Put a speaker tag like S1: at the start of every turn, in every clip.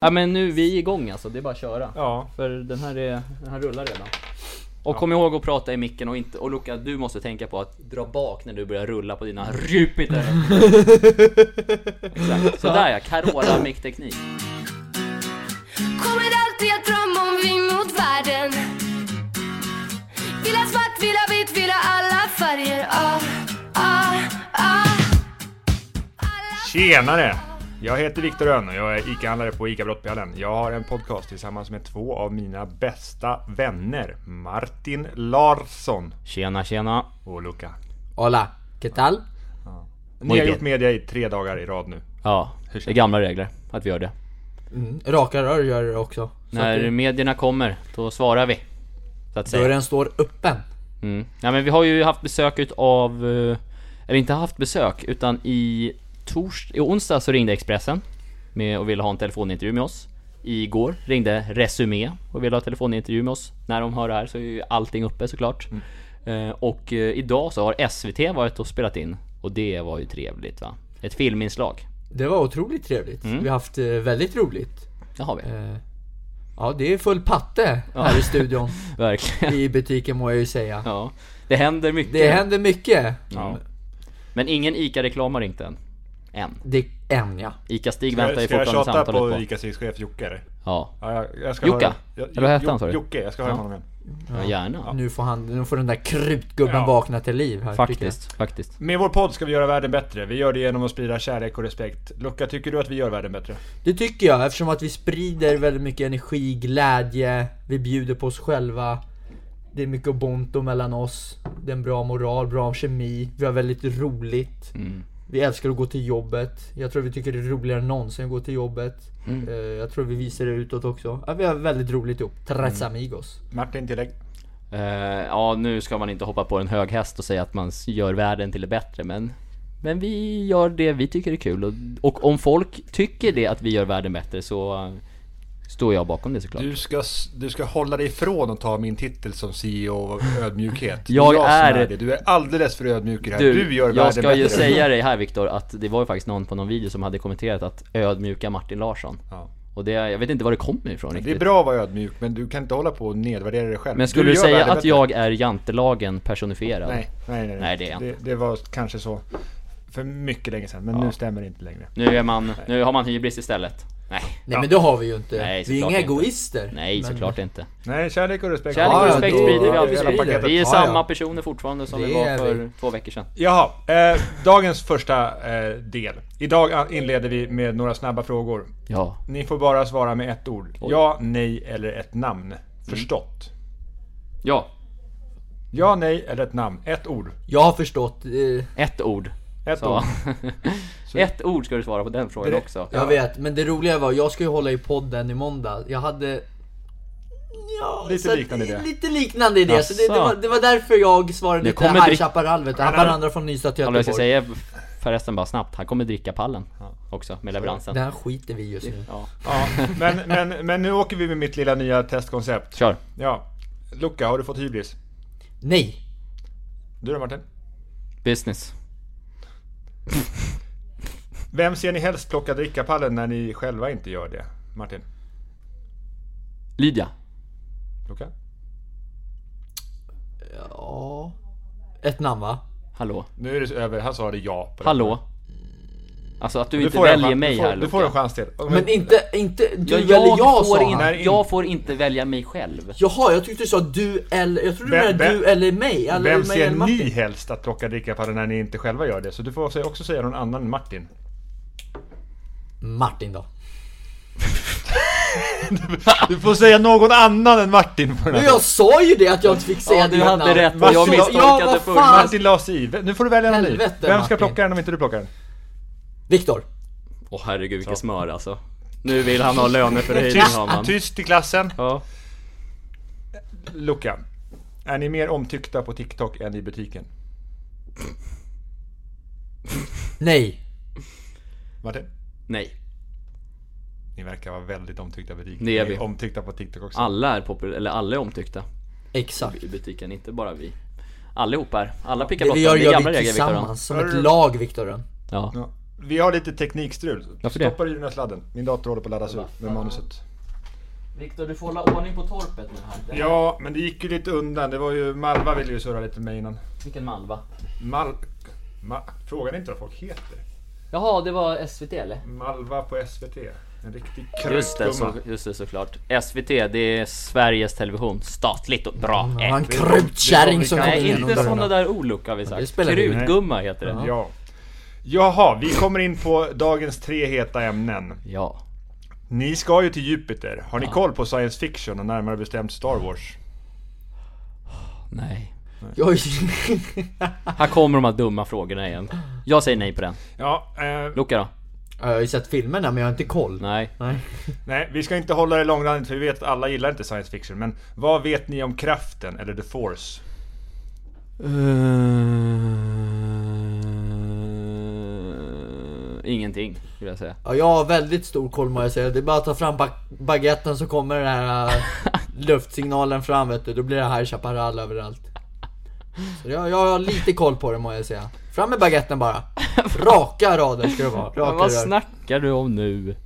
S1: Ja men nu, vi är igång alltså, det är bara att köra.
S2: Ja,
S1: För den här, är, den här rullar redan. Och kom ihåg att prata i micken och inte, och Luca du måste tänka på att dra bak när du börjar rulla på dina Jupiter. Exakt, sådär ja, Carola mickteknik.
S3: Kommer alltid att drömma om vi mot världen Vill ha svart, vill ha vitt, vill ha alla färger ah, ah, ah.
S2: tjenare! Jag heter Viktor Önn och jag är ICA-handlare på ICA Brottbjällen. Jag har en podcast tillsammans med två av mina bästa vänner. Martin Larsson
S1: Tjena tjena.
S2: och Luca.
S4: Hola, ¿qué tal?
S1: Muy
S2: Ni har
S1: bien.
S2: gjort media i tre dagar i rad nu.
S1: Ja, det är gamla regler att vi gör det.
S4: Raka rör gör det också. Så att
S1: När medierna kommer, då svarar vi. Så att
S4: det-
S1: säga.
S4: dörren står öppen.
S1: Mm. Ja, men vi har ju haft besök utav, eh, eller inte haft besök, utan i tors, i onsdag så ringde Expressen med, och ville ha en telefonintervju med oss. Igår ringde Resumé och ville ha telefonintervju med oss. När de hör det här så är ju allting uppe såklart.
S2: Mm.
S1: Eh, och eh, idag så har SVT varit och spelat in och det var ju trevligt va? Ett filminslag.
S4: Det var otroligt trevligt.
S1: Mm.
S4: Vi har haft eh, väldigt roligt.
S1: Det har vi.
S4: Eh, Ja, det är full patte här i studion.
S1: Verkligen.
S4: I butiken må jag ju säga.
S1: Ja. Det händer mycket.
S4: Det händer mycket.
S1: ja. Men ingen ICA-reklam har ringt än. Än.
S4: Det än ja.
S1: ICA-Stig
S2: Ska
S1: väntar
S2: jag-
S1: ju
S2: ska jag
S1: fortfarande
S2: tjata
S1: samtalet
S2: på
S1: på.
S2: ICAs chef Jocke eller?
S1: Ja.
S2: Ja, jag, jag ska
S1: Jocke?
S2: höra- jag-
S1: Eller vad hette han, sa du?
S2: Jocke, jag ska höra honom igen.
S1: Ja, gärna.
S4: Nu får, han, nu får den där krutgubben
S2: Ja.
S4: vakna till liv här tycker jag.
S1: Faktiskt, faktiskt.
S2: Med vår podd ska vi göra världen bättre. Vi gör det genom att sprida kärlek och respekt. Luca, tycker du att vi gör världen bättre?
S4: Det tycker jag eftersom att vi sprider väldigt mycket energi, glädje, vi bjuder på oss själva. Det är mycket ubuntu mellan oss, det är en bra moral, bra kemi, vi har väldigt roligt.
S1: Mm.
S4: Vi älskar att gå till jobbet. Jag tror vi tycker det är roligare än någonsin att gå till jobbet.
S1: Mm.
S4: Eh, Jag tror vi visar det utåt också. Ja, vi har väldigt roligt ihop. Tres
S1: Mm.
S4: amigos.
S2: Martin, tillägg?
S1: Eh, ja, nu ska man inte hoppa på en hög häst och säga att man s- gör världen till det bättre, men men vi gör det vi tycker är kul och, och om folk tycker det att vi gör världen bättre så eh, står jag bakom det såklart.
S2: Du ska, s- du ska hålla dig ifrån att ta min titel som CEO av ödmjukhet. Det
S1: Jag
S2: som
S1: är-
S2: det. Du är alldeles för ödmjuk i det här. Du,
S1: Du,
S2: gör
S1: jag
S2: världen
S1: ska
S2: bättre.
S1: ju säga dig här Viktor att det var ju faktiskt någon på någon video som hade kommenterat att ödmjuka Martin Larsson.
S2: Ja.
S1: Och det, jag vet inte var det kommer ifrån
S2: Det är
S1: riktigt.
S2: bra att vara ödmjuk, men du kan inte hålla på och nedvärdera dig själv.
S1: Men skulle du,
S2: gör
S1: säga
S2: världen
S1: att
S2: bättre.
S1: jag är jantelagen personifierad?
S2: Nej, nej, nej.
S1: Nej, det är jag
S2: det, det var kanske så för mycket länge sedan, men nu stämmer det inte längre.
S1: Nu är man, nu har man hybris istället. Nej,
S4: Nej men det har vi ju inte.
S1: Nej,
S4: vi är
S1: såklart
S4: inga
S1: inte.
S4: egoister.
S1: nej
S4: men
S1: såklart inte.
S2: Nej, kärlek och respekt.
S1: Kärlek
S4: Ja,
S1: och
S4: ja,
S1: respekt
S4: det-
S1: sprider vi
S4: det-
S1: alltid.
S4: det-
S2: Hela paketet.
S1: Vi är
S4: Ja,
S1: samma
S4: ja.
S1: personer fortfarande som
S4: Det
S1: vi var
S4: är
S1: för
S4: vi.
S1: två veckor sedan.
S2: Jaha, eh, dagens första eh, del. Idag a- inleder vi med några snabba frågor.
S1: Ja.
S2: Ni får bara svara med ett ord. Ja, nej eller ett namn.
S1: Mm.
S2: Förstått.
S1: Ja,
S2: Ja, nej eller ett namn. Ett ord.
S4: Jag har förstått. eh,
S1: ett ord.
S2: Ett
S1: Så.
S2: ord.
S1: ett ord ska du svara på den frågan
S2: Det-
S1: också.
S4: Jag vet, men det roliga var, jag ska ju hålla i podden i måndag. Jag hade... Ja,
S2: Lite
S4: så att-
S2: liknande idé.
S4: Lite liknande idé, så det, det, var,
S1: Jaså.
S4: det var därför jag svarade
S1: Nu
S4: lite
S1: kommer
S4: High
S1: drick-
S4: Chaparral vet du, Haparanda från Ystad till
S1: Alltså jag ska
S4: Göteborg.
S1: säga förresten bara snabbt, han kommer dricka pallen också med leveransen.
S4: Den här skiter vi i just nu.
S1: Ja.
S2: Ja, men, men, men nu åker vi med mitt lilla nya testkoncept.
S1: Kör.
S2: Ja. Luca, har du fått hybris?
S4: Nej!
S2: Du då Martin?
S1: Business.
S2: Vem ser ni helst plocka drickapallen när ni själva inte gör det? Martin?
S1: Lydia.
S2: Luca?
S4: Ja... Ett namn va?
S1: Hallå.
S2: Nu är det över, han sa det ja. på det.
S1: Hallå. Alltså att du,
S2: Du
S1: inte
S2: får en
S1: väljer
S2: chans-
S1: mig
S2: du får,
S1: här
S2: Du får en
S1: Luca.
S2: chans till. Men,
S4: Men inte, inte du
S1: Ja,
S4: eller
S1: jag,
S4: jag
S1: får
S4: sa
S1: inte,
S4: han.
S2: Nej, in-
S1: jag får inte välja mig själv.
S4: Jaha, jag tyckte du sa du eller... Jag trodde du
S2: Vem-
S4: menade
S2: vem-
S4: du eller mig. Eller
S2: Vem
S4: mig eller
S2: ser
S4: Martin.
S2: ni helst att plocka drickapallen när ni inte själva gör det? Så du får också- också säga någon annan än Martin.
S4: Martin då.
S2: Du får säga någon annan än Martin på den
S4: Men
S2: här.
S4: jag sa ju det att jag inte fick säga
S1: Ja, du
S4: ditt
S1: hade
S4: namn.
S1: rätt och
S2: Martin-
S1: jag
S2: Ja,
S1: misstolkade
S4: vad
S1: först.
S4: fan.
S2: Martin la sig i. Nu får du välja någon ny.
S4: Helvete,
S2: Vem ska
S4: Martin.
S2: plocka den om inte du plockar den?
S4: Viktor.
S1: Åh herregud vilket smör alltså. Nu vill han ha löneförhöjning har man.
S2: tyst i klassen.
S1: Ja.
S2: Luca, är ni mer omtyckta på TikTok än i butiken?
S4: Nej.
S2: Martin?
S1: Nej.
S2: Ni verkar vara väldigt omtyckta på TikTok.
S1: Det är
S2: Ni
S1: vi.
S2: omtyckta på TikTok också.
S1: Alla är popul- eller alla är omtyckta
S4: Exakt.
S1: i butiken, inte bara vi. Allihop är. Alla pickar
S4: Det
S1: bottar.
S4: vi Mm. gör,
S1: det är
S4: gör
S1: gamla
S4: vi
S1: regler Viktor.
S4: tillsammans, som ett lag Viktor.
S1: Ja.
S2: Ja. Vi har lite teknikstrul.
S1: Varför det?
S2: Stoppa i den här sladden. Min dator håller på att laddas upp med manuset.
S1: Viktor, du får hålla ordning på torpet nu här. Det-
S2: Ja, men det gick ju lite undan. Det var ju... Malva ville ju surra lite med innan.
S1: Vilken Malva?
S2: Mal... Ma... Frågan är inte vad folk heter.
S1: Jaha, det var SVT eller?
S2: Malva på SVT. En riktig
S1: Just det, så,
S2: krutgumma.
S1: just det, såklart. SVT, det är Sveriges Television. Statligt och bra.
S4: Det var en
S1: Äh.
S4: krutkärring som kom
S1: Nej,
S4: Mm, igenom
S1: inte
S4: dörren.
S1: såna där olyckor har vi
S4: det
S1: sagt.
S4: spelar ingen
S2: roll.
S1: Krutgumma heter det. Ja.
S2: Ja. Jaha, vi kommer in på dagens tre heta ämnen. Ni ska ju till Jupiter. Har ni koll på science fiction och närmare bestämt Star Wars?
S1: Nej.
S4: Jag,
S1: Här kommer de här dumma frågorna igen. Jag säger nej på den.
S2: Ja, eh,
S1: Luca då?
S4: jag har ju sett filmerna men jag har inte koll.
S1: Nej.
S4: Nej.
S2: nej, vi ska inte hålla det långrandigt för vi vet att alla gillar inte science fiction. Men vad vet ni om kraften eller the force?
S1: Eh, ingenting, skulle jag säga.
S4: Ja, jag har väldigt stor koll må jag säga. Det är bara att ta fram bag baguetten så kommer den här äh, luftsignalen fram vet du. Då blir det High Chaparral överallt. Så jag, jag har lite koll på det må jag säga. Fram med baguetten bara. Raka rader ska det vara. Raka
S1: Men vad
S4: rör.
S1: snackar du om nu?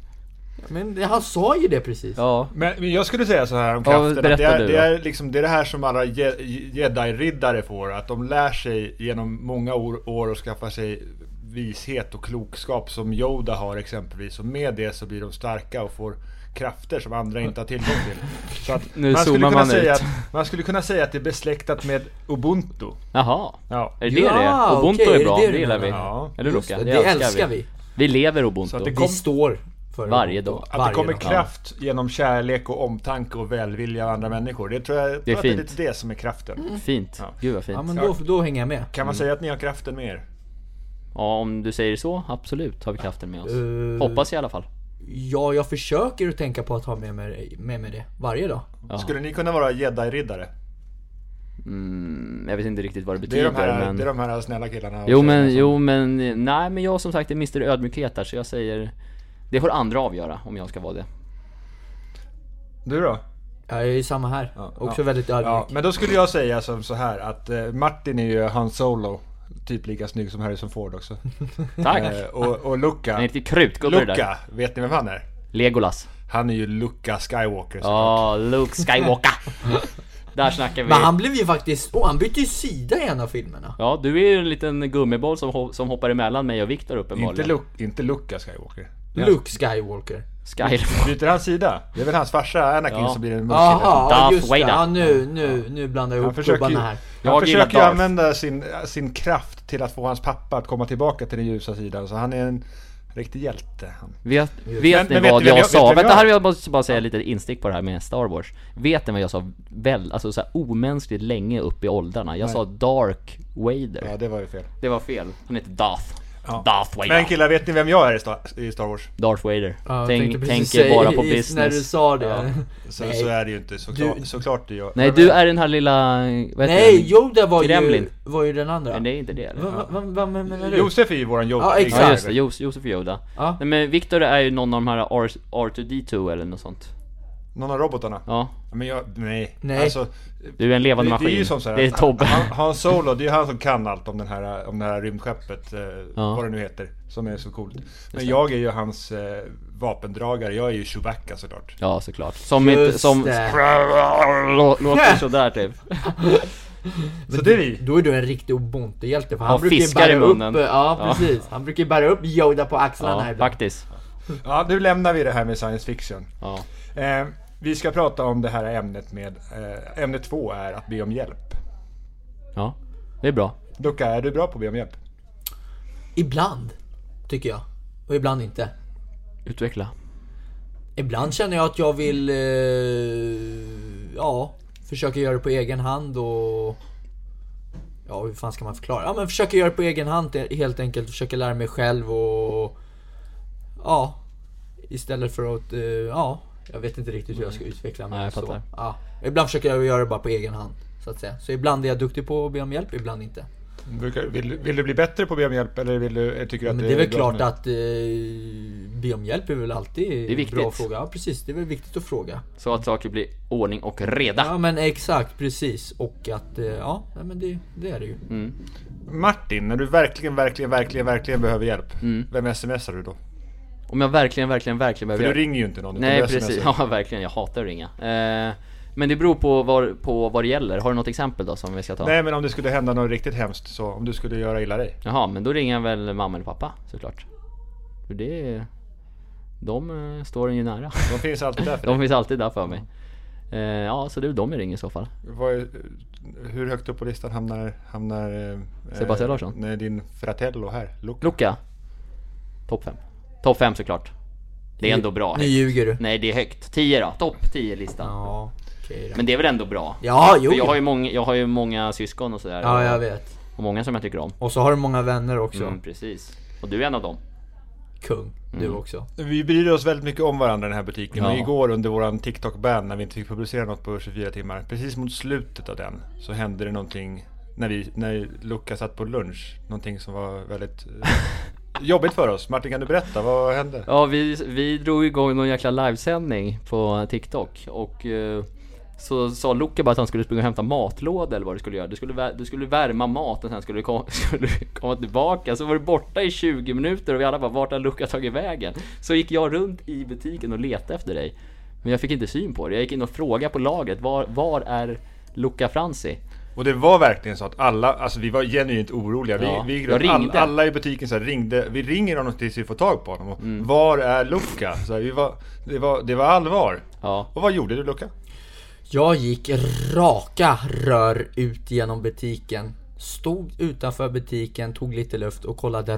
S4: Men det- han sa ju det precis.
S1: Ja.
S2: Men, men jag skulle säga så här om
S1: Ja,
S2: kraften. att det,
S1: berätta
S2: är,
S1: du
S2: det,
S1: då.
S2: är liksom, det är det här som alla je- jedi-riddare får. Att de lär sig genom många år, år och skaffar sig vishet och klokskap som Yoda har exempelvis. Och med det så blir de starka och får krafter som andra inte har tillgång till. Så att
S1: Nu
S2: man, skulle
S1: zoomar
S2: kunna
S1: man
S2: säga
S1: ut.
S2: att, man skulle kunna säga att det är besläktat med ubuntu.
S1: Jaha.
S2: Ja.
S1: Är det
S4: Ja,
S1: det det är? Ubuntu
S4: okej,
S1: är bra,
S4: det
S1: det,
S4: är det du
S1: gillar vi.
S4: menar.
S2: Ja.
S1: Eller
S4: Just
S1: Luca,
S4: det, det älskar vi.
S1: Vi lever Ubuntu.
S2: Så att det
S4: Vi
S2: Kom-
S4: står för
S1: Varje dag.
S2: Att det kommer
S4: dag.
S2: kraft genom kärlek och omtanke och välvilja av andra människor. Det tror jag, tror att det är
S1: fint.
S2: lite det som är kraften.
S1: Fint.
S2: Ja.
S1: Gud vad fint.
S4: Ja men då, då hänger jag med.
S2: Kan
S1: Mm.
S2: man säga att ni har kraften med er?
S1: Ja, om du säger så, absolut har vi kraften med oss.
S4: Eh.
S1: Hoppas i alla fall.
S4: Ja, jag försöker att tänka på att ha med mig, med mig det varje dag.
S1: Ja.
S2: Skulle ni kunna vara jedi-riddare?
S1: Mm, jag vet inte riktigt vad det
S2: Det är,
S1: betyder
S2: de här,
S1: men...
S2: det är de här snälla killarna och
S1: Jo
S2: tjejerna
S1: men,
S2: som-
S1: jo men, nej men jag som sagt är Mr Ödmjukhet här så jag säger Det får andra avgöra om jag ska vara det
S2: Du då?
S4: Jag är ju samma här.
S2: Ja,
S4: Också
S2: ja.
S4: väldigt ödmjuk.
S2: Ja, men då skulle jag säga som så här att eh, Martin är ju Han Solo Typ lika snygg som Harrison Ford också
S1: Tack!
S2: eh, och, och
S1: En
S2: Luca
S1: riktig krutgubbe det där
S2: Luca, vet ni vem han är?
S1: Legolas
S2: Han är ju Luca Skywalker såklart.
S1: Ja, Luke Skywalker Där snackar vi
S4: Men han blev ju faktiskt, oh, han bytte ju sida i en av filmerna.
S1: Ja, du är ju en liten gummiboll som, ho- som hoppar emellan mig och Viktor
S2: inte,
S1: uppenbarligen
S2: Lu inte Luca Skywalker
S4: Luke Skywalker.
S1: Skywalker
S2: Byter han sida? Det är väl hans farsa Anakin
S1: Ja.
S2: som blir en muskler
S4: Jaha,
S1: Darth
S4: just det.
S1: Vader.
S4: Ja, nu, nu, nu blandar jag
S2: Han
S4: ihop
S2: försöker ju,
S4: gubbarna här.
S2: han
S1: Jag gillar
S2: försöker ju
S1: Darth.
S2: använda sin, sin kraft till att få hans pappa att komma tillbaka till den ljusa sidan så han är en riktig hjälte han.
S1: Vet,
S2: Men-
S1: vet
S2: men
S1: ni
S2: vet
S1: vad
S2: du vem
S1: jag
S2: jag- vet du
S1: sa?
S2: vem
S1: Vänta,
S2: jag-
S1: här vill jag bara, bara säga lite instick på det här med Star Wars Vet ni vad jag sa väl, alltså såhär omänskligt länge upp i åldrarna? Jag sa Dark Vader
S2: Ja det var ju fel.
S1: Det var fel, han heter Darth
S2: Ja.
S1: Darth Vader
S2: Men killar, vet ni vem jag är i Star, i Star Wars?
S1: Darth Vader.
S4: Ja, jag tänkte
S1: Tänk,
S4: precis
S1: tänker
S4: säga
S1: bara på
S4: i- i- När du
S1: business.
S4: sa det.
S1: Ja.
S2: Så,
S4: Nej.
S2: så är det ju inte, såklart, såklart det är jag.
S1: Nej, du är den här lilla... Vad heter
S4: Nej,
S1: den?
S4: Yoda var ju,
S1: Kremlin.
S4: var ju den andra.
S1: Men det är inte det eller?
S4: Vad va, va, va, men menar du?
S2: Josef är ju våran Yoda.
S4: Ja, exakt.
S1: Ja just det, Jos- Josef Yoda.
S4: Ja.
S1: Nej men Victor är ju någon av de här R- R2D2 eller något sånt.
S2: Någon av robotarna.
S1: Ja.
S2: Men jag, nej.
S4: Nej.
S2: Alltså,
S1: Du är en levande
S2: det, det
S1: maskin.
S2: är ju som så här,
S1: det är Tobbe.
S2: Han, han Solo, det är ju han som kan allt om, den här, om det här rymdskeppet, eh,
S1: Ja.
S2: vad det nu heter, som är så coolt. Men jag är ju hans eh, vapendragare, jag är ju Chewbacca såklart.
S1: Ja såklart. Som inte...
S4: Just
S1: Som...
S4: det.
S1: Lå- Låter sådär typ.
S2: Så det är vi.
S4: Då är du en riktig ubuntu-hjälte för
S1: Ja,
S4: han brukar ju
S1: fiskar i
S4: bära upp, eh,
S1: munnen.
S4: ja
S1: Ja.
S4: precis. Han brukar ju bära upp Yoda på axlarna här
S1: Ja,
S4: ibland.
S1: faktiskt.
S2: Ja, nu lämnar vi det här med science fiction.
S1: Ja.
S2: Eh, vi ska prata om det här ämnet med, eh, ämne två är att be om hjälp.
S1: Ja. Det är bra.
S2: Luca, är du bra på att be om hjälp?
S4: Ibland, tycker jag. Och ibland inte.
S1: Utveckla.
S4: Ibland känner jag att jag vill, eh, ja, försöka göra det på egen hand och... Ja, hur fan ska man förklara? Ja, men försöka göra det på egen hand eh, helt enkelt. Försöka lära mig själv och... Ja. Istället för att, eh, ja. Jag vet inte riktigt hur jag ska utveckla
S1: Mm.
S4: mig.
S1: Nej, jag
S4: så.
S1: fattar.
S4: Ja. Ibland försöker jag göra det bara på egen hand. Så att säga. Så ibland är jag duktig på att be om hjälp, ibland inte.
S2: Brukar, vill, vill du bli bättre på att be om hjälp eller vill du, tycker du att
S4: Men det är väl
S2: bra
S4: klart
S2: som det är?
S4: att eh, be om hjälp är väl alltid
S1: Det är
S4: en bra
S1: viktigt.
S4: fråga. Ja, precis, det är väl viktigt att fråga.
S1: Så att saker blir ordning och reda.
S4: Ja men exakt, precis. Och att, eh, ja, nej, men det, det är det ju.
S1: Mm.
S2: Martin, när du verkligen, verkligen, verkligen, verkligen behöver hjälp.
S1: Mm.
S2: Vem smsar du då?
S1: Om jag verkligen, verkligen, verkligen
S2: För
S1: behöver
S2: du
S1: göra-
S2: ringer ju inte alltså. någon. utan
S1: Nej
S2: du
S1: precis,
S2: smsar.
S1: ja verkligen. Jag hatar att ringa. Eh, men det beror på vad, på vad det gäller. Har du något exempel då som vi ska ta?
S2: Nej, men om det skulle hända något riktigt hemskt, så om du skulle göra illa dig.
S1: Jaha, men då ringer jag väl mamma eller pappa såklart. För det... är- De eh, står en ju nära.
S2: De finns alltid där för dig.
S1: De finns alltid där för mig. Eh, ja, så det är de jag ringer i så fall.
S2: Vad är, hur högt upp på listan hamnar... hamnar eh,
S1: Sebastian
S2: eh,
S1: Larsson?
S2: Nej, din fratello här. Luca.
S1: Luca. Topp 5. Topp 5 såklart. Det är ändå bra. Mm.
S4: Nu ljuger du.
S1: Nej, det är högt. 10 då. Topp 10-listan.
S4: Ja, okej då.
S1: Men det är väl ändå bra?
S4: Ja, jo.
S1: För jag har ju många, jag har ju många syskon och sådär.
S4: Ja, jag vet.
S1: Och många som jag tycker om.
S4: Och så har du många vänner också.
S1: Mm, precis. Och du är en av dem.
S4: Kung, du också.
S2: Vi bryr oss väldigt mycket om varandra i den här butiken. Och
S1: Ja.
S2: igår under våran TikTok-ban, när vi inte fick publicera något på 24 timmar, precis mot slutet av den, så hände det någonting när, vi, när Luca satt på lunch. Någonting som var väldigt eh, jobbigt för oss. Martin, kan du berätta? Vad hände?
S1: Ja, vi, vi drog igång någon jäkla livesändning på TikTok och eh, så sa Luca bara att han skulle springa och hämta matlåda eller vad du skulle göra. Du skulle, vä- du skulle värma maten sen skulle du kom, skulle du komma tillbaka. Så var du borta i 20 minuter och vi alla bara vart har Luca tagit vägen? Så gick jag runt i butiken och letade efter dig. Men jag fick inte syn på dig. Jag gick in och frågade på lagret. Var, var är Luca Franzi?
S2: Och det var verkligen så att alla, alltså vi var genuint oroliga. Vi,
S1: Ja,
S2: vi gick
S1: jag
S2: runt, all,
S1: ringde.
S2: alla i butiken så här ringde, vi ringer honom tills vi får tag på honom. Och,
S1: Mm.
S2: Var är Luca? Så här, vi var, det, var, det var allvar.
S1: Ja.
S2: Och vad gjorde du Luca?
S4: Jag gick raka rör ut genom butiken. Stod utanför butiken, tog lite luft och kollade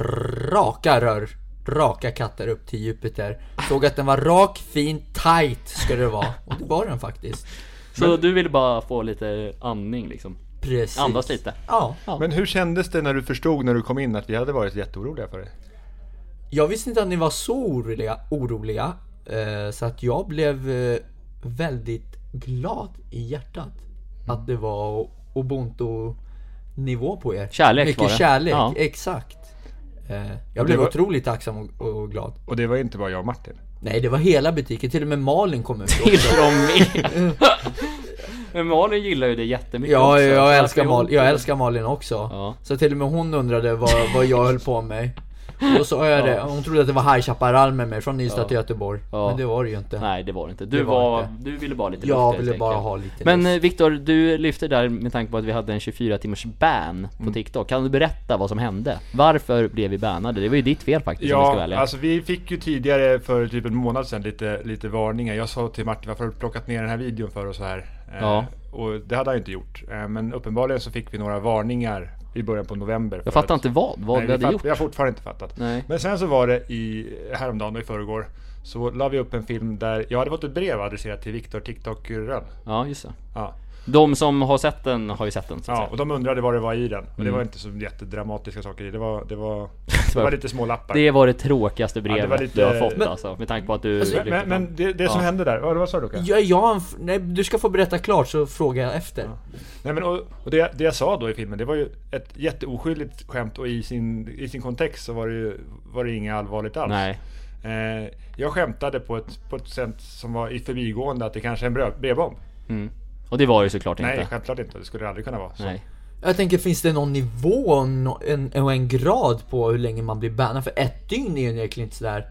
S4: raka rör. Raka katter upp till Jupiter. Såg att den var rak, fin, tight ska det vara. Och det var den faktiskt.
S1: Så du ville bara få lite andning liksom.
S4: Precis.
S1: Andas lite.
S4: Ja.
S2: Men hur kändes det när du förstod när du kom in att vi hade varit jätteoroliga för dig?
S4: Jag visste inte att ni var så oroliga, oroliga eh, så att jag blev eh, väldigt glad i hjärtat.
S1: Mm.
S4: Att det var ubuntu-nivå på er.
S1: Kärlek
S4: Mycket
S1: var det.
S4: kärlek,
S1: Ja.
S4: exakt. Eh, jag blev
S2: var-
S4: otroligt tacksam och, och glad.
S2: Och det var inte bara jag och Martin.
S4: Nej, det var hela butiken, till och med Malin kom ut.
S1: till dem med. Men Malin gillar ju det jättemycket
S4: Ja,
S1: också.
S4: jag älskar,
S1: Varför
S4: Mal-
S1: hon-
S4: jag älskar Malin också.
S1: Ja.
S4: Så till och med hon undrade vad, vad jag höll på med. Och då sa jag det, hon trodde att det var High Chaparral med mig från Ystad till Göteborg.
S1: Ja.
S4: Men det var det ju inte.
S1: Nej det var det inte. Du,
S4: Det var
S1: var,
S4: inte.
S1: du ville bara lite
S4: Jag
S1: luft, helt
S4: ville bara
S1: enkelt.
S4: ha lite
S1: Men
S4: luft.
S1: eh, Viktor, du lyfte där med tanke på att vi hade en 24 timmars ban
S4: Mm.
S1: på TikTok. Kan du berätta vad som hände? Varför blev vi bannade? Det var ju ditt fel faktiskt om vi ska vara
S2: Ja,
S1: ärliga.
S2: alltså vi fick ju tidigare för typ en månad sedan lite, lite varningar. Jag sa till Martin varför har du plockat ner den här videon för och så här. Eh,
S1: Ja.
S2: Och det hade han ju inte gjort. Eh, Men uppenbarligen så fick vi några varningar i början på november. för
S1: jag fattar
S2: att-
S1: inte vad, vad
S2: Nej,
S1: vi hade
S2: fatt-
S1: gjort.
S2: Vi har fortfarande inte fattat.
S1: Nej.
S2: Men sen så var det i häromdagen och i förrgår. Så la vi upp en film där jag hade fått ett brev adresserat till Viktor TikTok-gurran.
S1: Ja, just det.
S2: Ja.
S1: De som har sett den har ju sett den så att
S2: Ja,
S1: säga. Mm.
S2: och de undrade vad det var i den. Och det var inte så jättedramatiska saker i. Det var, det var, det var lite små lappar.
S1: Det var det tråkigaste brevet
S2: var lite-
S1: du har fått
S2: Men-
S1: alltså. Med tanke på att du...
S2: Men, men, men det, det som
S1: Ja.
S2: hände där, vad vad sa du Luka?
S4: Ja, eh, jag har en f- nej, du ska få berätta klart så frågar jag efter.
S2: Nej, men, och, och det, det jag sa då i filmen, det var ju ett jätteoskyldigt skämt och i sin, i sin kontext så var det ju var det inget allvarligt alls.
S1: Nej.
S2: Eh, jag skämtade på ett, på ett sätt som var i förbigående att det kanske är en bröd- brevbomb.
S1: Och det var det ju såklart
S2: Nej,
S1: inte.
S2: självklart inte. Det skulle det aldrig kunna vara. Så.
S1: Nej.
S4: Jag tänker, finns det någon nivå och nå- en, och en grad på hur länge man blir bannad? För ett dygn är ju egentligen inte sådär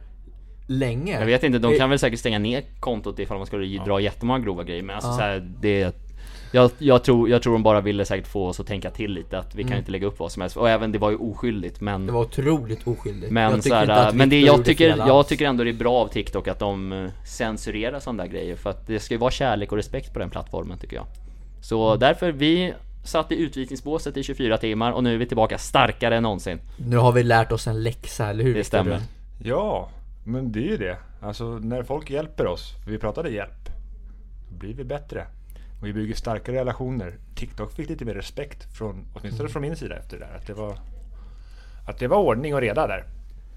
S4: länge.
S1: Jag vet inte, de
S4: Eh,
S1: kan väl säkert stänga ner kontot ifall man skulle dra jättemånga grova grejer men alltså så här, det... Jag, jag, tror, jag tror de bara ville säkert få oss att tänka till lite att vi kan inte lägga upp vad som helst och även det var ju oskyldigt men...
S4: Mm. Det var otroligt oskyldigt.
S1: Men,
S4: jag
S1: så här, men det,
S4: Victor
S1: jag,
S4: gjorde
S1: tycker,
S4: fel
S1: jag
S4: alls.
S1: tycker ändå det är bra av TikTok att de eh, censurerar sådana där grejer för att det ska ju vara kärlek och respekt på den plattformen tycker jag. Så
S4: Mm.
S1: därför, vi satt i utvisningsbåset i 24 timmar och nu är vi tillbaka starkare än någonsin.
S4: Nu har vi lärt oss en läxa, eller hur?
S1: Det
S4: Victor?
S1: stämmer.
S2: Ja, men det är ju det. Alltså när folk hjälper oss, vi pratade hjälp, då blir vi bättre. Och vi bygger starkare relationer. TikTok fick lite mer respekt, från, åtminstone
S1: Mm.
S2: från min sida efter det där. Att det var, att det var ordning och reda där.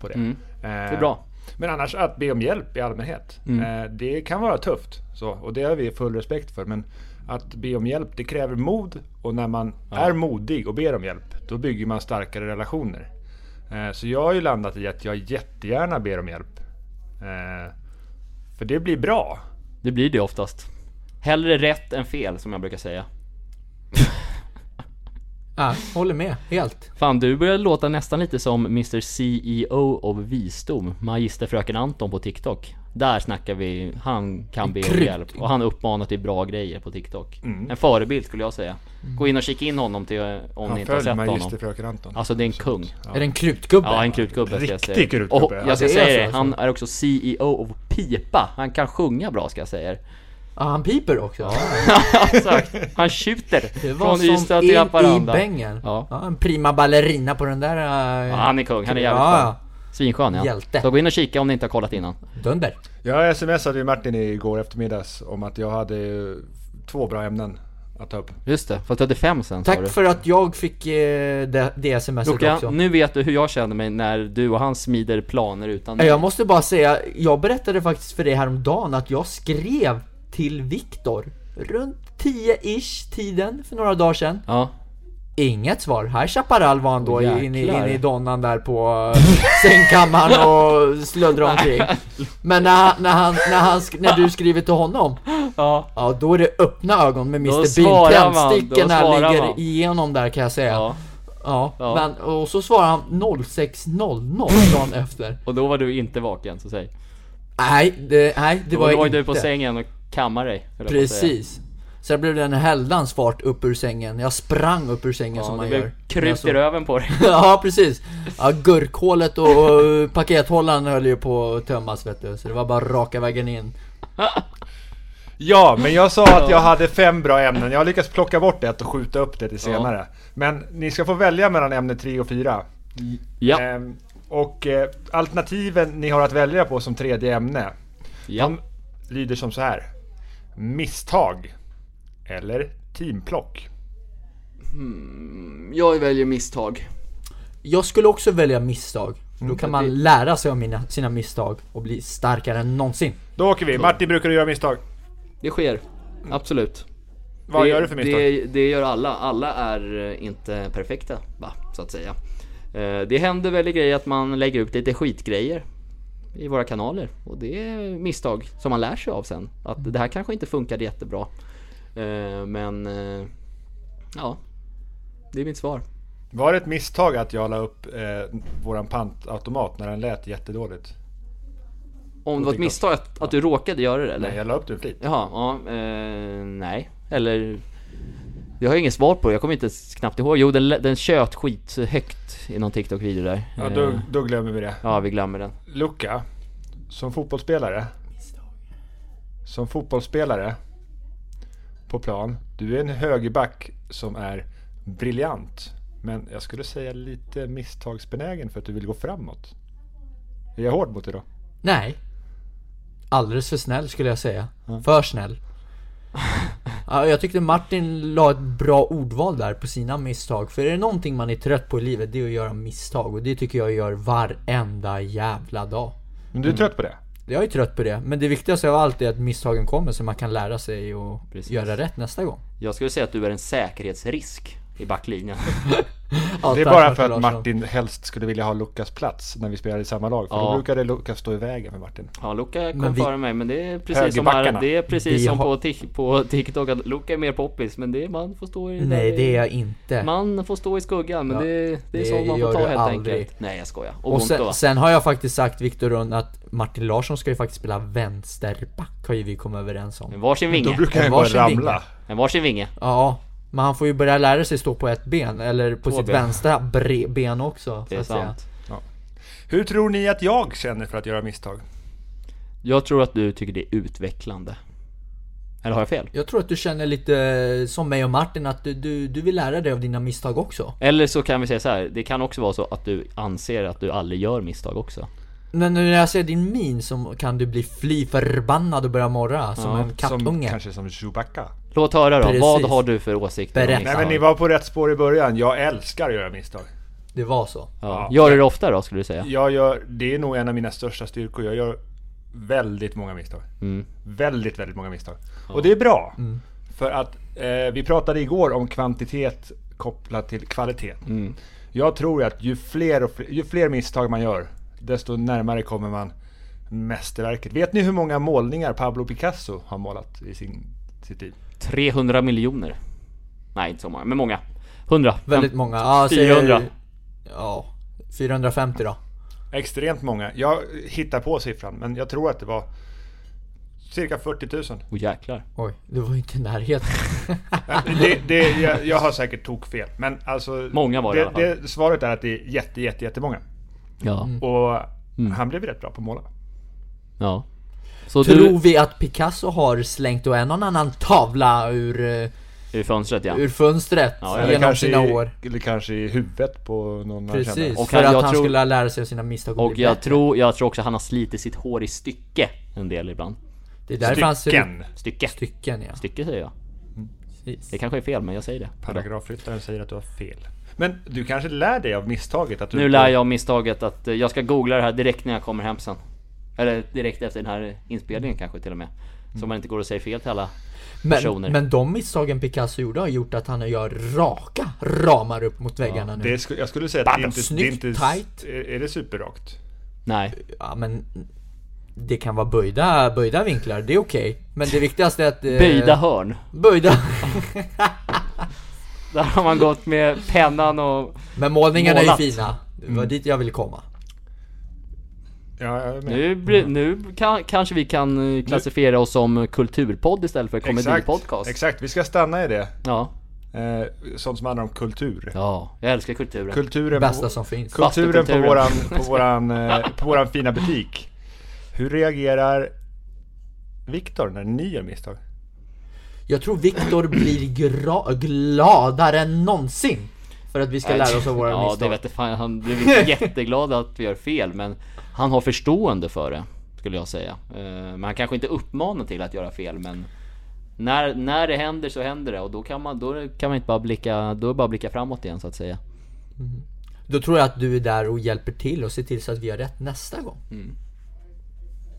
S2: På det. Eh,
S1: Mm. Det är bra.
S2: Men annars att be om hjälp i allmänhet,
S1: Mm.
S2: eh, det kan vara tufft. Så, och det har vi full respekt för. Men att be om hjälp, det kräver mod. Och när man är modig och ber om hjälp, då bygger man starkare relationer. Eh, så jag har ju landat i att jag jättegärna ber om hjälp. Eh, för det blir bra.
S1: Det blir det oftast. Hellre rätt än fel, som jag brukar säga.
S4: Ah, håller med, helt.
S1: Fan, du börjar låta nästan lite som Mr CEO of Visdom, Magisterfröken Anton på TikTok. Där snackar vi, han kan be om
S4: Krut. Mm.
S1: hjälp och han uppmanar till bra grejer på TikTok. En förebild skulle jag säga. Gå in och kika in honom till, eh, om ni
S2: Han
S1: inte har
S2: följer
S1: sett honom.
S2: magisterfröken Anton.
S1: Alltså det är en kung.
S4: Är det en krutgubbe?
S1: Ja, en krutgubbe ska jag
S2: Riktig
S1: säga.
S2: krutgubbe,
S1: Och
S2: ja.
S1: jag ska
S4: Det är så
S1: säga det,
S4: alltså.
S1: han är också CEO of Pipa. Han kan sjunga bra ska jag säga er.
S4: Ah, han piper också.
S1: Exakt. Han skjuter
S4: Det var
S1: från Ystad
S4: som
S1: till
S4: in i
S1: Haparanda.
S4: bängen.
S1: Ja.
S4: Ja, en prima ballerina på den där... eh,
S1: Ja, han är kung, han är jävligt skön.
S4: ja,
S1: Svinskön ja.
S4: Hjälte.
S1: Så gå in och kika om ni inte har kollat innan.
S4: ja. Dunder.
S2: Jag smsade ju Martin igår eftermiddags om att jag hade eh, två bra ämnen att ta upp.
S1: Just det, fast du hade fem sen sa
S4: Tack
S1: du.
S4: för att jag fick eh, det, det smset
S1: Luka,
S4: också.
S1: nu vet du hur jag känner mig när du och han smider planer utan
S4: Eh, Jag måste bara säga, jag berättade faktiskt för dig häromdagen att jag skrev till Viktor runt 10-ish tiden för några dagar sedan.
S1: Ja,
S4: Inget svar. Här Chaparral var han då
S1: Åh,
S4: inne
S1: jäklar.
S4: in i donnan där på eh, sängkammaren och slöddrade omkring. Men när, han- när, han, när, han, sk- när du skriver till honom,
S1: ja,
S4: ja då är det öppna ögon med Mr Bean.
S1: svarar man, då
S4: Tändstickorna
S1: svarar
S4: ligger
S1: man.
S4: igenom där kan jag säga. Ja.
S1: ja. Ja.
S4: ja. Men, och så svarar han 06.00 dagen efter.
S1: Och då var du inte vaken, så säg.
S4: Nej, det, nej, det
S1: Då
S4: var
S1: var,
S4: jag
S1: var
S4: inte.
S1: du på sängen och kammade dig. höll jag på att säga.
S4: Precis. Sen blev det en häldans fart upp ur sängen. Jag sprang upp ur sängen
S1: Ja,
S4: som
S1: det
S4: man
S1: blev
S4: gör.
S1: krut i röven på dig.
S4: ja, precis. Ja, gurkhålet och och pakethållaren höll ju på att tömmas vet du. Så det var bara raka vägen in.
S2: Ja, men jag sa att jag hade fem bra ämnen. Jag har lyckats plocka bort ett och skjuta upp det till senare. Men ni ska få välja mellan ämne tre och fyra.
S1: Ja,
S2: Ehm, och eh, alternativen ni har att välja på som tredje ämne
S1: ja.
S2: lyder som så här. Misstag. Eller teamplock.
S1: Jag väljer misstag.
S4: Jag skulle också välja misstag. Då
S1: Mm,
S4: kan man lära sig av mina, sina misstag och bli starkare än någonsin.
S2: Då åker vi. Martin, brukar du göra misstag?
S1: Det sker. Absolut.
S2: Vad
S1: det,
S2: gör du för misstag?
S1: Det, det gör alla. Alla är eh, inte perfekta, va? Så att säga. Eh, Det händer väl i grejer att man lägger ut lite skitgrejer i våra kanaler. Och det är misstag som man lär sig av sen. Att det här kanske inte funkade jättebra. Eh, Men, eh, ja. Det är mitt svar.
S2: Var det ett misstag att jag la upp eh, våran pantautomat när den lät jättedåligt?
S1: Om det var ett misstag att, att du råkade göra det eller?
S2: Nej, jag la upp den flit.
S1: Jaha, ja, eh, nej. Eller... Det har jag inget svar på, jag kommer inte ens knappt ihåg. Jo, den, den tjöt skit högt i någon TikTok-video där.
S2: Ja,
S1: Eh,
S2: då, då glömmer vi det.
S1: ja, vi glömmer den.
S2: Luca, som fotbollsspelare. Som fotbollsspelare på plan. Du är en högerback som är briljant. Men jag skulle säga lite misstagsbenägen för att du vill gå framåt. Är jag hård mot dig då?
S4: Nej. Alldeles för snäll skulle jag säga. För snäll. Ja, jag tyckte Martin la ett bra ordval där på sina misstag. För är det någonting man är trött på i livet, det är att göra misstag. Och det tycker jag gör varenda jävla dag.
S2: Men du är trött på det?
S4: Jag är trött på det, men det viktigaste av allt är att misstagen kommer så man kan lära sig och
S1: Precis.
S4: göra rätt nästa gång.
S1: Jag skulle säga att du är en säkerhetsrisk i backlinjen.
S4: Ja,
S2: Det är
S4: tack,
S2: bara
S4: Martin
S2: för att
S4: Larsson.
S2: Martin helst skulle vilja ha Lukas plats när vi spelade i samma lag. För
S1: Ja.
S2: då brukade Lukas stå i vägen för Martin.
S1: Ja, Luka kom
S4: Men vi-
S1: före mig, men det är precis som, här,
S2: Högerbackarna.
S1: det är precis
S4: Vi
S1: som
S4: har-
S1: på, Tik- på TikTok, att Luka är mer poppis, men det är, man får stå i...
S4: Nej, det är jag inte.
S1: Man får stå i skuggan, men
S4: Ja,
S1: det, det är
S4: det
S1: sånt man
S4: gör
S1: får ta
S4: du
S1: helt
S4: aldrig.
S1: enkelt. Nej, jag skojar. Och,
S4: och
S1: Bonto,
S4: sen,
S1: va?
S4: sen har jag faktiskt sagt Viktor Rund att Martin Larsson ska ju faktiskt spela vänsterback, har ju vi kommit överens om.
S1: En varsin
S2: Då
S1: vinge.
S2: brukar
S4: En
S2: jag bara
S4: varsin vinge.
S2: ramla.
S1: En varsin vinge.
S4: Ja, men han får ju börja lära sig stå på ett ben, eller på
S1: Två
S4: sitt
S1: ben.
S4: vänstra bre- ben också.
S1: Det
S4: så
S1: är
S4: att säga.
S1: sant.
S2: Hur tror ni att jag känner för att göra misstag?
S1: Jag tror att du tycker det är utvecklande. Eller har jag fel?
S4: Jag tror att du känner lite som mig och Martin, att du, du, du vill lära dig av dina misstag också.
S1: Eller så kan vi säga så här. det kan också vara så att du anser att du aldrig gör misstag också.
S4: Men när jag ser din min så kan du bli fly förbannad och börja morra som en
S2: Som,
S4: kattunge.
S2: kanske som Chewbacca.
S1: Låt höra då,
S4: Precis.
S1: vad har du för åsikter om
S4: Berätta.
S2: Nej
S1: misstag?
S2: men ni var på rätt spår i början. Jag älskar att göra misstag.
S4: det var så.
S1: Ja. Gör du det ofta då skulle du säga?
S2: Jag gör, det är nog en av mina största styrkor. Jag gör väldigt många misstag. Väldigt, väldigt många misstag. Och det är bra. För att eh, vi pratade igår om kvantitet kopplat till kvalitet. Jag tror att ju fler, och fler, ju fler misstag man gör, desto närmare kommer man mästerverket. Vet ni hur många målningar Pablo Picasso har målat i sin, sitt liv?
S1: 300 miljoner. Nej, inte så många, men många. 100.
S4: Väldigt
S1: Fem-
S4: många. Ja,
S1: 400.
S4: Säger, ja, 450 då.
S2: Extremt många. Jag hittar på siffran, men jag tror att det var cirka 40 000.
S1: Åh jäklar.
S4: Oj, det var inte i närheten.
S1: Ah.
S2: det, det, jag, jag har säkert tokfel, men alltså...
S1: Många var det
S2: det,
S1: i alla fall.
S2: det Svaret är att det är jätte, jätte, jättemånga.
S1: Ja.
S4: Mm.
S2: Och
S1: Mm.
S2: han blev rätt bra på att måla.
S1: Ja. Så
S4: Tror
S1: du...
S4: vi att Picasso har slängt och en och annan tavla ur, eh,
S1: Ur fönstret ja.
S4: ur fönstret
S1: Ja,
S2: Eller
S4: genom
S2: kanske
S4: sina
S2: i,
S4: år?
S2: Eller kanske i huvudet på någon han
S4: Precis,
S2: känner.
S1: Och
S4: för
S1: jag
S4: att han
S1: tror-
S4: skulle lära sig av sina misstag
S1: Och
S4: bli
S1: jag
S4: bättre.
S1: tror, jag tror också han har slitit sitt hår i stycke en del ibland.
S4: Det är därför han ser ut...
S2: Stycken.
S1: Stycke.
S4: Stycken ja.
S1: Stycke säger jag.
S4: Precis.
S1: Det kanske är fel men jag säger det.
S2: Paragrafryttaren säger att du har fel. Men du kanske lär dig av misstaget att du...
S1: Nu lär jag om misstaget att eh, jag ska googla det här direkt när jag kommer hem sen. Eller direkt efter den här inspelningen kanske till och med. Så man inte går och säger fel till alla
S4: Men,
S1: personer.
S4: men de misstagen Picasso gjorde har gjort att han gör raka ramar upp mot väggarna nu.
S2: Det, sku- jag skulle säga att det är inte...
S4: Snyggt,
S2: det är inte,
S4: tight.
S2: Är, är det superrakt?
S1: Nej.
S4: Ja men det kan vara böjda, böjda vinklar, det är okej. Men det viktigaste är att... eh,
S1: Böjda hörn.
S4: Böjda!
S1: Där har man gått med pennan och...
S4: Men målningarna
S1: Målat. Mm.
S4: är ju fina. Det var dit jag ville komma.
S2: Ja, jag är med.
S1: Nu, blir- nu kan, kanske vi kan eh, klassifiera oss som kulturpodd istället för komedipodcast.
S2: exakt, exakt, vi ska stanna i det.
S1: Ja.
S2: Eh, sånt som handlar om kultur.
S1: ja, jag älskar kulturen.
S2: Kulturen
S4: Bästa som finns.
S2: Kulturen på
S1: Bastukulturen.
S2: våran, på, våran, eh, på våran fina butik. Hur reagerar Viktor när ni gör misstag?
S4: Jag tror Viktor blir gra- gladare än någonsin. För att vi ska lära oss av våra
S1: ja, det
S4: misstag.
S1: vet jag fan, han blev inte jätteglad att vi gör fel men han har förstående för det, skulle jag säga. Eh, Men han kanske inte uppmanar till att göra fel men när, när det händer så händer det och då kan man, då kan man inte bara blicka, då är det bara att blicka framåt igen så att säga.
S4: Då tror jag att du är där och hjälper till och ser till så att vi har rätt nästa gång.
S1: Mm.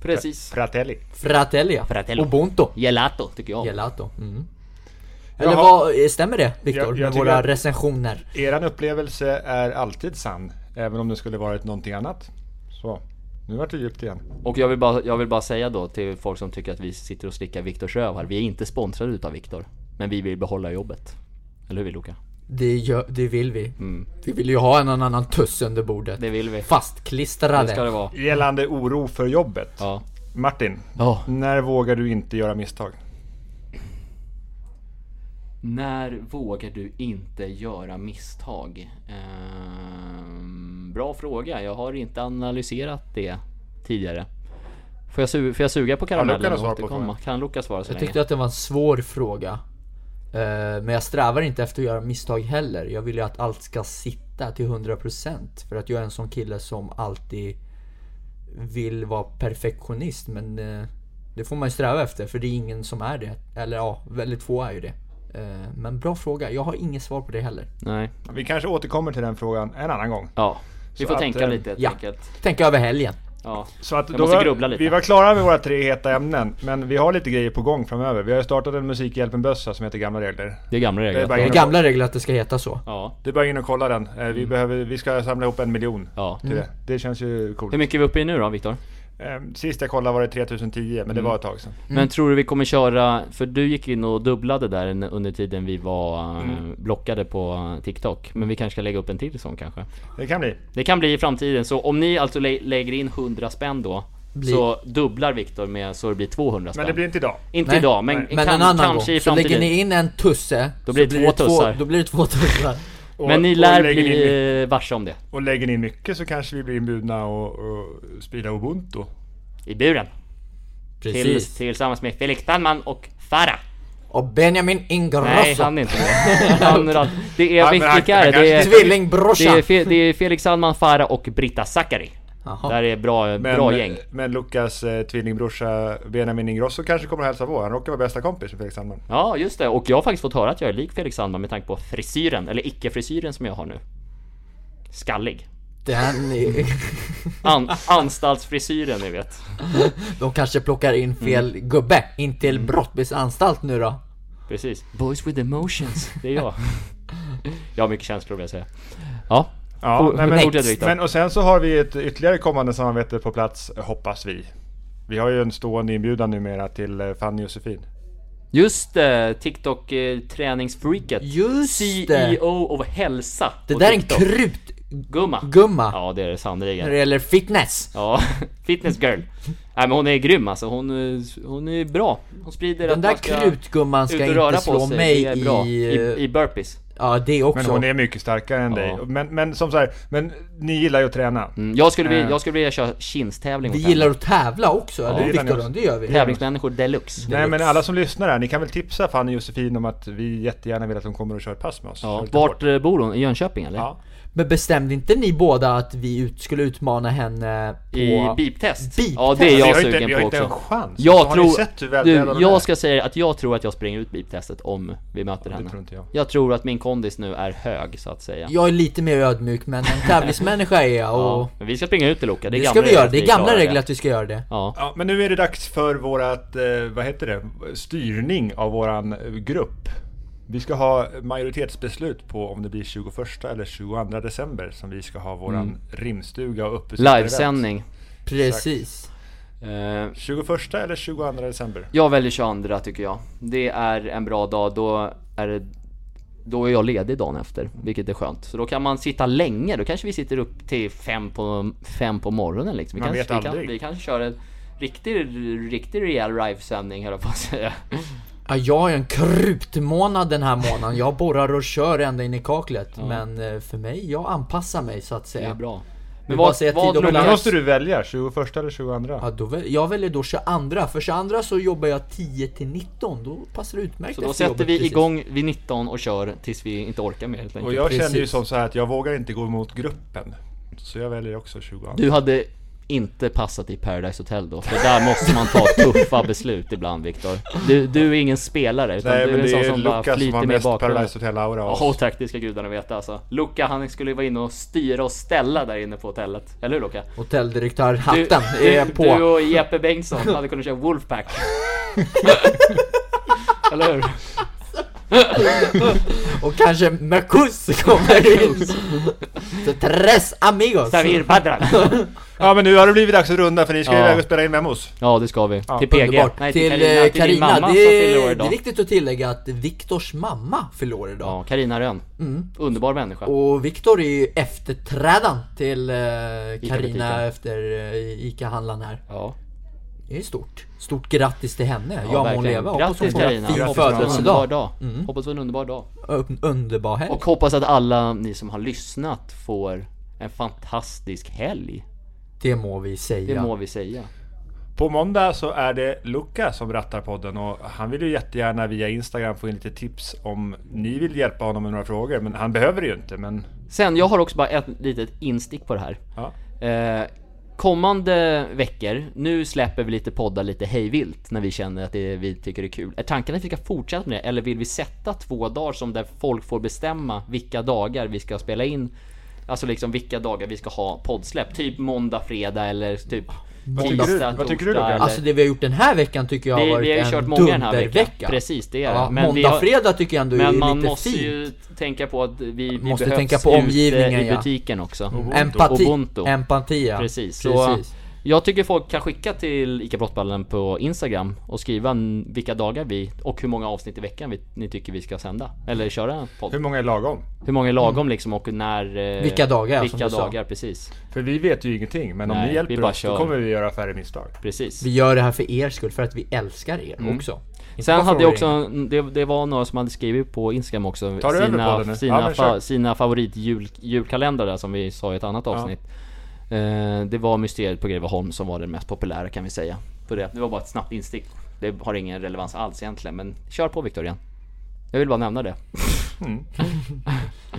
S1: Precis.
S2: Fratelli.
S4: Fratellia.
S1: Fratello.
S4: Ubuntu.
S1: Gelato tycker jag.
S4: Gelato. Mm. Eller
S2: Jaha.
S4: vad, eh, stämmer det
S2: Jag- jag
S4: Viktor? Med
S2: tycker
S4: våra
S2: att-
S4: recensioner?
S2: Eran upplevelse är alltid sann, även om det skulle varit någonting annat. Så, nu vart det djupt igen.
S1: Och jag vill, bara, jag vill bara säga då till folk som tycker att vi sitter och slickar Viktors röv här. Vi är inte sponsrade utav Viktor. Men vi vill behålla jobbet. Eller hur Luka?
S4: Det, gör, det vill vi. Vi vill ju ha en och annan tuss under bordet.
S1: Mm. Det vill vi. Det
S4: Fastklistrade.
S1: ska det vara.
S2: Gällande oro för jobbet.
S1: Ja.
S2: Martin,
S1: Ja.
S2: när vågar du inte göra misstag?
S1: När vågar du inte göra misstag? Ehm, bra fråga. Jag har inte analyserat det tidigare. Får jag, su- får jag suga på
S2: Luca
S1: karamellen
S2: något svar på
S1: återkomma? Kan Luka svara så
S4: Jag
S1: länge?
S4: tyckte att det var en svår fråga. Eh, Men jag strävar inte efter att göra misstag heller. Jag vill ju att allt ska sitta till 100% för att jag är en sån kille som alltid vill vara perfektionist men eh, det får man ju sträva efter för det är ingen som är det. Eller ja, väldigt få är ju det. Eh, Men bra fråga, jag har inget svar på det heller.
S1: Nej.
S2: Vi kanske återkommer till den frågan en annan gång.
S1: Ja. Vi
S2: Så
S1: får
S2: att,
S1: tänka
S2: eh,
S1: lite helt
S4: ja.
S1: enkelt.
S4: Tänk över helgen.
S1: Ja.
S2: Så att
S1: Jag
S2: då
S1: måste
S2: var,
S1: grubbla lite.
S2: Vi var klara med våra tre heta ämnen, men vi har lite grejer på gång framöver. Vi har ju startat en Musikhjälpen-bössa som heter Gamla Regler.
S1: Det är gamla
S2: Det är bara
S1: regler.
S4: Det är gamla regler att det ska heta så.
S1: Ja.
S2: Det är bara in och kolla den. Eh, Vi,
S1: Mm.
S2: behöver, vi ska samla ihop en miljon
S1: ja.
S2: till det. Det känns ju coolt.
S1: Mm. Hur mycket är vi uppe i nu då Viktor?
S2: Eh, Sist jag kollade var det 3010, men
S1: Mm.
S2: det var ett tag sedan.
S1: Men tror du vi kommer köra, för du gick in och dubblade där en- under tiden vi var eh,
S2: Mm.
S1: blockade på eh, TikTok. Men vi kanske ska lägga upp en till sån kanske.
S2: Det kan bli.
S1: Det kan bli i framtiden, så om ni alltså lä- lägger in 100 spänn då
S4: Blir-
S1: Så dubblar Viktor med så det blir 200 spänn.
S2: Men det blir inte idag.
S1: Inte
S4: Nej.
S1: idag, men,
S4: Men
S1: kan,
S4: en annan
S1: kanske
S4: gång.
S1: i
S4: Så
S1: framtiden.
S4: lägger ni in en tusse.
S1: Då blir det
S4: så
S1: två tussar.
S4: Då blir det två tussar.
S2: Och,
S1: Men ni
S2: och
S1: lär
S2: lägger ni in,
S1: bli eh, varse om det.
S2: och lägger ni in mycket så kanske vi blir inbjudna och, och sprida ubuntu.
S1: I buren. Till,
S4: Precis.
S1: tillsammans med Felix Sandman och Farah.
S4: Och Benjamin Ingrosso.
S1: Nej, han är inte med. Han är all- det
S2: men
S1: är, vilka
S2: han-
S1: är
S2: han
S1: det? Det
S2: kanske-
S1: är, det
S4: Tvillingbrorsan!
S1: är, Fe, det är Felix Sandman, Farah och Britta Zackari.
S4: Jaha.
S1: Där är bra,
S2: Men,
S1: bra gäng.
S2: Men Lukas eh, tvillingbrorsa Benjamin Ingrosso kanske kommer och hälsa på. Han råkar vara bästa kompis med Felix Sandman.
S1: Ja, just det. Och jag har faktiskt fått höra att jag är lik Felix Sandman med tanke på frisyren, eller icke-frisyren som jag har nu. Skallig.
S4: Den är...
S1: An, anstaltsfrisyren ni vet.
S4: De kanske plockar in fel
S1: Mm.
S4: gubbe in till Brottbys anstalt nu då.
S1: Precis. Boys with emotions. Det är jag. Jag har mycket känslor vill jag säga. Ja.
S2: Ja,
S1: Oh,
S2: nej, men,
S1: fortsätt, Viktor.
S2: men och sen så har vi ett ytterligare kommande samarbete på plats, hoppas vi. Vi har ju en stående inbjudan numera till eh, Fanny Josefin.
S1: Just det, TikTok eh, träningsfreaket.
S4: Just det!
S1: CEO of hälsa.
S4: Det
S1: på
S4: där är en
S1: TikTok.
S4: krutgumma.
S1: Gumma. Ja det är det
S4: När
S1: sannerligen.
S4: det gäller fitness.
S1: Ja, fitness girl. Nej men hon är grym alltså, hon, är- hon är bra. Hon sprider
S4: Den
S1: att
S4: där
S1: man ska
S4: krutgumman
S1: ut
S4: ska
S1: och röra
S4: inte
S1: på
S4: slå
S1: sig.
S4: mig
S1: det är bra.
S4: i...
S1: I, i burpees.
S4: Ja, det
S2: Men
S4: också.
S2: hon är mycket starkare än dig.
S1: Ja.
S2: Men, men som så här, men ni gillar ju att träna.
S1: Mm, jag, skulle vilja,
S2: Eh.
S1: jag skulle vilja köra kinstävling
S4: Vi
S1: mot henne.
S4: gillar att tävla också, eller
S2: det
S4: hur
S2: gillar ni
S4: Viktor?
S2: också.
S4: Det gör vi.
S1: Tävlingsmänniskor deluxe.
S2: Nej men
S4: Deluxe.
S2: alla som lyssnar här, ni kan väl tipsa Fanny Josefin om att vi jättegärna vill att hon kommer och kör ett pass med oss.
S1: Ja,
S2: Lite
S1: vart
S2: hårt.
S1: eh, bor hon? I Jönköping eller?
S2: Ja.
S4: Men bestämde inte ni båda att vi ut, skulle utmana henne på...
S1: I beep-test?
S4: Beep
S1: Ja det är
S4: test.
S2: Alltså, Vi
S1: jag
S2: har inte,
S1: sugen
S2: vi har
S1: på
S2: inte en
S1: också.
S2: chans.
S1: Jag
S2: har
S1: tror...
S2: ni sett
S1: du,
S2: hur vältränad hon är?
S1: jag ska säga att jag tror att jag springer ut beep-testet om vi möter
S2: Det
S1: henne.
S2: tror inte jag.
S1: Jag tror att min kondis nu är hög så att säga.
S4: Jag är lite mer ödmjuk men en tävlingsmänniska är jag och...
S1: Ja, men vi ska springa ut till Loka, det är
S4: Det
S1: gamla
S4: ska vi
S1: regler
S4: göra,
S1: att
S4: det är
S1: vi
S4: gamla
S1: klarar
S4: regler
S1: det.
S4: att vi ska göra det.
S1: Ja.
S2: Ja, men nu är det dags för vårat, eh, vad heter det, styrning av våran eh, grupp. Vi ska ha majoritetsbeslut på om det blir 21 eller 22 december som vi ska ha våran rimstuga och uppesittarevent.
S1: Mm. Livesändning.
S4: Precis.
S1: Eh,
S2: 21 eller 22 december.
S1: Jag väljer 22 tycker jag. Det är en bra dag, då är det då är jag ledig dagen efter, vilket är skönt. Så då kan man sitta länge, då kanske vi sitter upp till fem på, fem på morgonen liksom. Vi
S2: Man
S1: kanske,
S2: vet
S1: vi,
S2: aldrig.
S1: kan, vi kanske kör en riktig, riktig rejäl livesändning höll jag på att säga.
S4: Ja, jag är en krutmånad den här månaden. Jag borrar och kör ända in i kaklet. Men eh, för mig, jag anpassar mig så att
S1: Det är
S4: säga.
S1: bra.
S4: Vi bara säger tid och
S1: tror
S4: plats.
S2: Då
S1: ni-
S2: måste du välja, 21 eller 22.
S4: Ja, då väl, jag väljer då 22, för 22 så jobbar jag 10 till 19, då passar det utmärkt
S1: Så då
S4: efter
S1: sätter
S4: jobbet
S1: vi
S4: precis.
S1: igång vid 19 och kör tills vi inte orkar mer helt
S2: Och
S1: enkelt.
S2: jag känner ju
S4: Precis.
S2: som så här att jag vågar inte gå emot gruppen. Så jag väljer också 22.
S1: Du hade inte passat i Paradise Hotel då, för där måste man ta tuffa beslut ibland Viktor. Du, du är ingen spelare, utan
S2: Nej
S1: du
S2: men
S1: är en
S2: det
S1: sån
S2: är
S1: som bara
S2: Lukas som
S1: flyter
S2: har
S1: med i
S2: mest
S1: bakgrunden.
S2: Paradise Hotel-aura av
S1: Åh
S2: oss.
S1: tack, det ska gudarna veta alltså. Luca han skulle ju vara inne och styra och ställa där inne på hotellet. Eller hur Luca? Du,
S4: Hotelldirektörhatten är
S1: du,
S4: på.
S1: du och Jeppe Bengtsson hade kunnat köra Wolfpack. Eller hur?
S4: Och kanske Mercus kommer in! så tres amigos!
S1: Samir Badran.
S2: Ja men nu har det blivit dags att runda för ni ska
S1: Ja.
S2: iväg och spela in memos.
S1: Ja det ska vi. till PG.
S4: Underbart!
S1: Nej,
S4: till
S1: Carina,
S4: eh,
S1: till din
S4: Carina,
S1: mamma som
S4: det,
S1: fyller år
S4: är, det är
S1: idag.
S4: viktigt att tillägga att Viktors mamma fyller år idag.
S1: Ja, Carina Rönn. Underbar människa.
S4: Mm. Och Viktor är ju efterträdan till eh, Carina
S1: butiken.
S4: efter eh, ICA-handlaren här.
S1: Ja.
S4: Det är stort. Stort grattis till henne. Ja, må hon
S1: verkligen.
S4: leva. Hoppas hon
S1: Grattis
S4: får en
S1: Carina! Mm. Hoppas
S4: fin
S1: du har en underbar
S4: födelsedag.
S1: dag. Hoppas du har en underbar dag.
S4: En Underbar helg.
S1: Och hoppas att alla ni som har lyssnat får en fantastisk helg.
S4: Det må vi
S1: Det
S4: säga.
S1: må vi säga.
S2: På måndag så är det Luca som rattar podden och han vill ju jättegärna via Instagram få in lite tips om ni vill hjälpa honom med några frågor. Men han behöver det ju inte. Men
S1: Sen, jag har också bara ett litet instick på det här.
S2: ja.
S1: Eh, kommande veckor, nu släpper vi lite poddar lite hejvilt när vi känner att det, vi tycker det är kul. Är tanken att vi ska fortsätta med det eller vill vi sätta två dagar som där folk får bestämma vilka dagar vi ska spela in? Alltså liksom vilka dagar vi ska ha poddsläpp. Typ måndag, fredag eller typ
S2: tycker du-
S1: tisdag,
S2: vad tycker du,
S1: torsdag
S2: Lukas?
S1: eller-
S4: Alltså det vi har gjort den här veckan tycker jag har
S1: Vi,
S4: varit
S1: vi har ju
S4: en
S1: kört många den här veckan.
S4: dundervecka.
S1: Precis, det är det.
S4: Ja,
S1: Men vi
S4: måndag,
S1: har-
S4: fredag tycker jag ändå
S1: Men
S4: är
S1: man
S4: lite
S1: måste
S4: fint.
S1: ju tänka på att vi, vi
S4: Måste
S1: behövs
S4: tänka på
S1: ute
S4: omgivningen,
S1: i
S4: ja.
S1: butiken också.
S4: Empati.
S1: Ubuntu.
S4: Empati ja.
S1: Precis. Så
S4: Precis.
S1: jag tycker folk kan skicka till ICA Brottballen på Instagram och skriva n- vilka dagar vi och hur många avsnitt i veckan vi, ni tycker vi ska sända. Eller köra en
S2: Hur
S1: podd.
S2: många är lagom?
S1: Hur många är lagom liksom och när... eh,
S4: Vilka dagar, som
S1: Vilka
S4: du sa.
S1: dagar, precis.
S2: För vi vet ju ingenting. Men om
S1: Nej,
S2: ni
S1: vi
S2: hjälper
S1: bara
S2: oss
S1: kör.
S2: då kommer vi göra färre misstag.
S1: Precis.
S4: Vi gör det här för er skull, för att vi älskar er också. Inte bara
S1: Mm. Sen
S4: för
S1: hade jag
S4: vår egen.
S1: också, det, det var några som hade skrivit på Instagram också
S2: Tar du över
S1: Sina,
S2: podden nu?
S1: sina,
S2: Ja, men kör.
S1: fa, sina favoritjulkalendrar där som vi sa i ett annat avsnitt eh, Det var Mysteriet på Greveholm som var den mest populära kan vi säga på det. det var bara ett snabbt instick Det har ingen relevans alls egentligen men kör på Victor igen Jag vill bara nämna det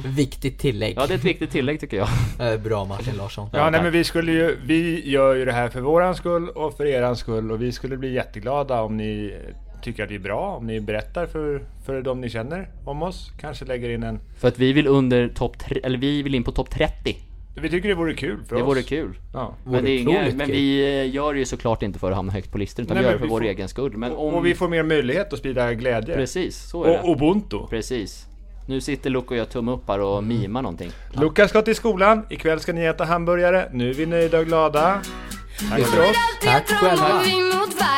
S4: Viktigt tillägg.
S1: Ja det är ett viktigt tillägg tycker jag
S4: Eh, Bra Martin Larsson.
S2: Ja, nej,
S1: tack.
S2: men vi, skulle ju, vi gör ju det här för våran skull och för eran skull och vi skulle bli jätteglada om ni tycker att det är bra om ni berättar för, för de ni känner om oss. Kanske lägger in en...
S1: För att vi vill under topp tre- eller vi vill in på topp 30.
S2: Vi tycker det vore kul för
S1: Det
S2: oss.
S1: vore kul.
S2: Ja.
S1: Men, det är inga,
S4: otroligt
S1: men
S4: kul.
S1: vi eh, gör det ju såklart inte för att hamna högt på listan utan
S2: Nej,
S1: vi gör
S2: men
S1: det för
S2: vi
S1: vår
S2: får-
S1: egen skull. Men om...
S2: Och, och vi får mer möjlighet att sprida glädje.
S1: Precis, så är det.
S2: Och ubuntu.
S1: Precis. Nu sitter Luke och jag tumme upp här och mimar någonting.
S2: Lukas ska till skolan. Ikväll ska ni äta hamburgare. Nu är vi nöjda och glada. Tack för oss.
S3: Alltid jag
S4: Tack själva.
S3: drömmer om vi mot världen Ah, Ah,